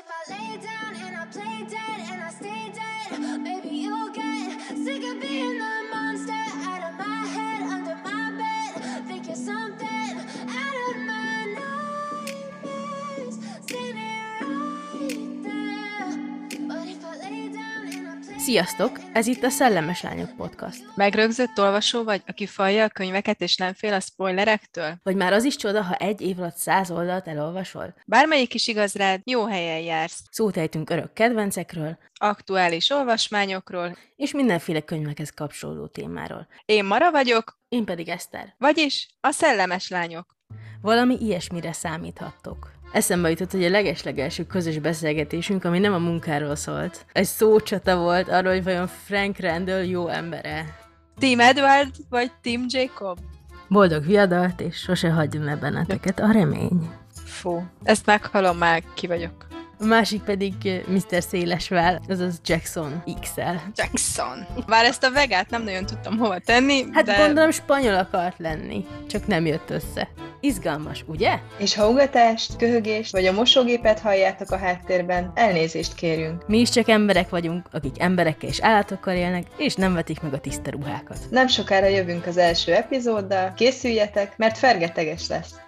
if I lay down and I play dead and I stay dead, maybe you'll get sick of being the monster out of my head, under my bed. Think you're something out of my nightmares. Seen it right there. But if I lay down and I play Sziasztok! dead and I Ez itt a Szellemes Lányok Podcast. Megrögzött olvasó vagy, aki falja a könyveket és nem fél a spoilerektől? Vagy már az is csoda, ha egy év alatt száz oldalt elolvasol? Bármelyik is igaz rád, jó helyen jársz. Szót ejtünk örök kedvencekről, Aktuális olvasmányokról. és mindenféle könyvekhez kapcsolódó témáról. Én Mara vagyok, Én pedig Eszter. vagyis a szellemes lányok. Valami ilyesmire számíthattok. Eszembe jutott, hogy a legeslegelső közös beszélgetésünk, ami nem a munkáról szólt. Egy szócsata volt arról, hogy vajon Frank Randall jó embere. Team Edward vagy Team Jacob? Boldog viadalt, és sose hagyjon el benneteket a remény. Fú, ezt meghalom, már ki vagyok. A másik pedig eh, Mr. Szélesvál, azaz Jackson XL. Jackson. Bár ezt a vegát nem nagyon tudtam hova tenni, Hát de... De... gondolom spanyol akart lenni, csak nem jött össze. Izgalmas, ugye? És ha ugatást, köhögést vagy a mosógépet halljátok a háttérben, elnézést kérünk. Mi is csak emberek vagyunk, akik emberekkel és állatokkal élnek, és nem vetik meg a tiszta ruhákat. Nem sokára jövünk az első epizóddal, készüljetek, mert fergeteges lesz.